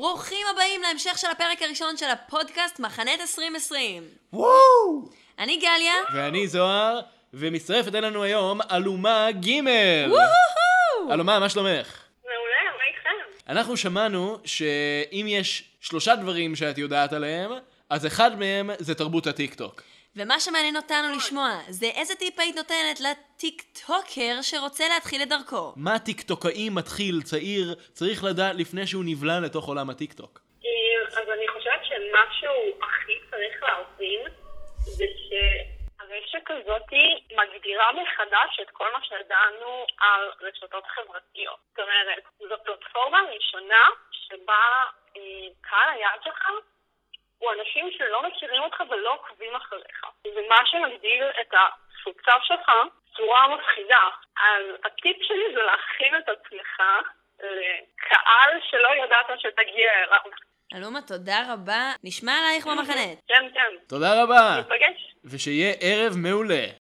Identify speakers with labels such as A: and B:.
A: וברוכים הבאים להמשך של הפרק הראשון של הפודקאסט מחנת 2020.
B: וואו!
A: אני גליה.
B: ואני זוהר, ומצטרפת אלינו היום אלומה גימל.
A: וואו!
B: אלומה, מה שלומך?
C: מעולה, מה איתך?
B: אנחנו שמענו שאם יש שלושה דברים שאת יודעת עליהם, אז אחד מהם זה תרבות הטיקטוק.
A: ומה שמעניין אותנו לשמוע זה איזה טיפ היית נותנת לטיקטוקר שרוצה להתחיל את דרכו.
B: מה טיקטוקאי מתחיל, צעיר, צריך לדעת לפני שהוא נבלע לתוך עולם הטיקטוק.
C: אה, אז אני חושבת שמה שהוא הכי צריך להבין זה שהרשת הזאת מגדירה מחדש את כל מה שידענו על רשתות חברתיות. זאת אומרת, זו פלטפורמה ראשונה שבה אה, קהל היעד שלך הוא אנשים שלא מכירים אותך ולא עוקבים אחריך. זה מה שמגדיל את התפוצה שלך בצורה מפחידה. אז הטיפ שלי זה להכין את עצמך לקהל שלא ידעת שתגיע אליו.
A: אלומה, תודה רבה. נשמע עלייך במחנה.
C: כן, כן.
B: תודה רבה,
C: ניפגש.
B: ושיהיה ערב מעולה.